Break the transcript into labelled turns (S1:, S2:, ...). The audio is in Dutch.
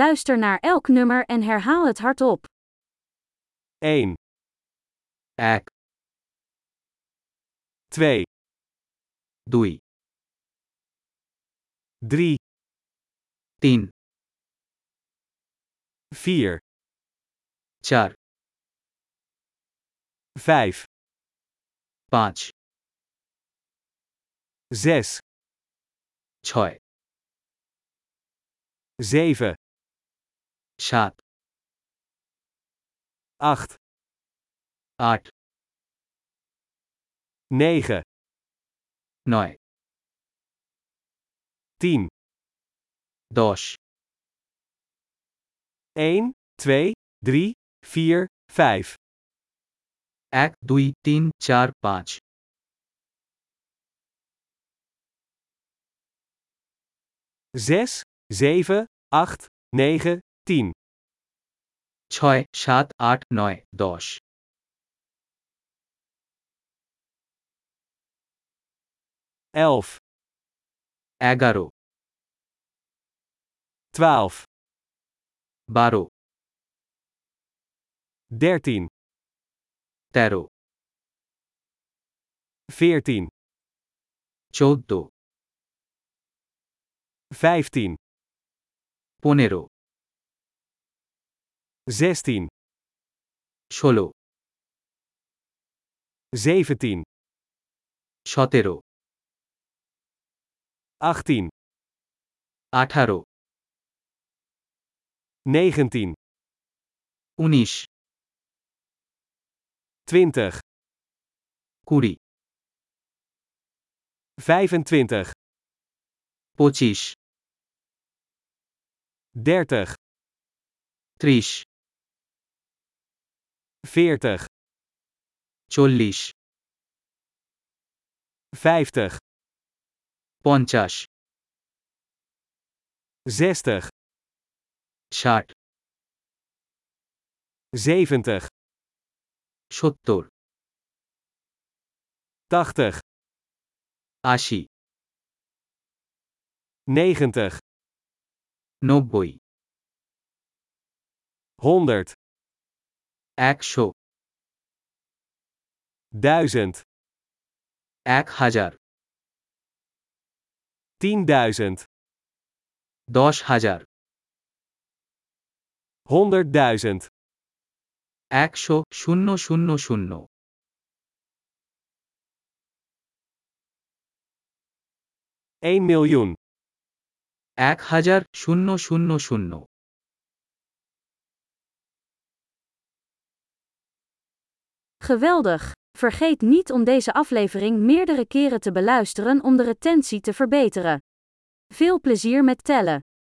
S1: Luister naar elk nummer en herhaal het hardop.
S2: 1,
S3: এক
S2: 2,
S3: দুই
S2: 3,
S3: তিন
S2: 4,
S3: চার
S2: 5,
S3: পাঁচ
S2: 6,
S3: ছয়
S2: 7,
S3: সাত
S2: 8,
S3: আট
S2: 9,
S3: নয়
S2: 10.
S3: দশ
S2: 1, 2, 3, 4, 5,
S3: এক দুই তিন চার পাঁচ
S2: 6, 7, 8, 9, 10,
S3: ছয় সাত আট নয় দশ
S2: 11,
S3: এগারো
S2: 12,
S3: বারো
S2: 13,
S3: তেরো
S2: 14,
S3: চৌদ্দ
S2: 15,
S3: পনেরো
S2: 16,
S3: ষোলো
S2: 17,
S3: সতেরো
S2: 18,
S3: আঠারো
S2: 19,
S3: উনিশ
S2: 20,
S3: কুড়ি
S2: 25,
S3: পঁচিশ
S2: 30,
S3: ত্রিশ
S2: 40,
S3: চল্লিশ
S2: 50,
S3: পঞ্চাশ
S2: 60,
S3: ষাট
S2: 70,
S3: সত্তর
S2: 80,
S3: আশি
S2: 90,
S3: নব্বই
S2: 100,
S3: একশো
S2: 1000,
S3: এক হাজার
S2: 10.000,
S3: দশ হাজার
S2: 100.000,
S3: একশো শূন্য শূন্য শূন্য
S2: 1 miljoen,
S3: এক হাজার শূন্য শূন্য শূন্য
S1: Geweldig! Vergeet niet om deze aflevering meerdere keren te beluisteren om de retentie te verbeteren. Veel plezier met tellen!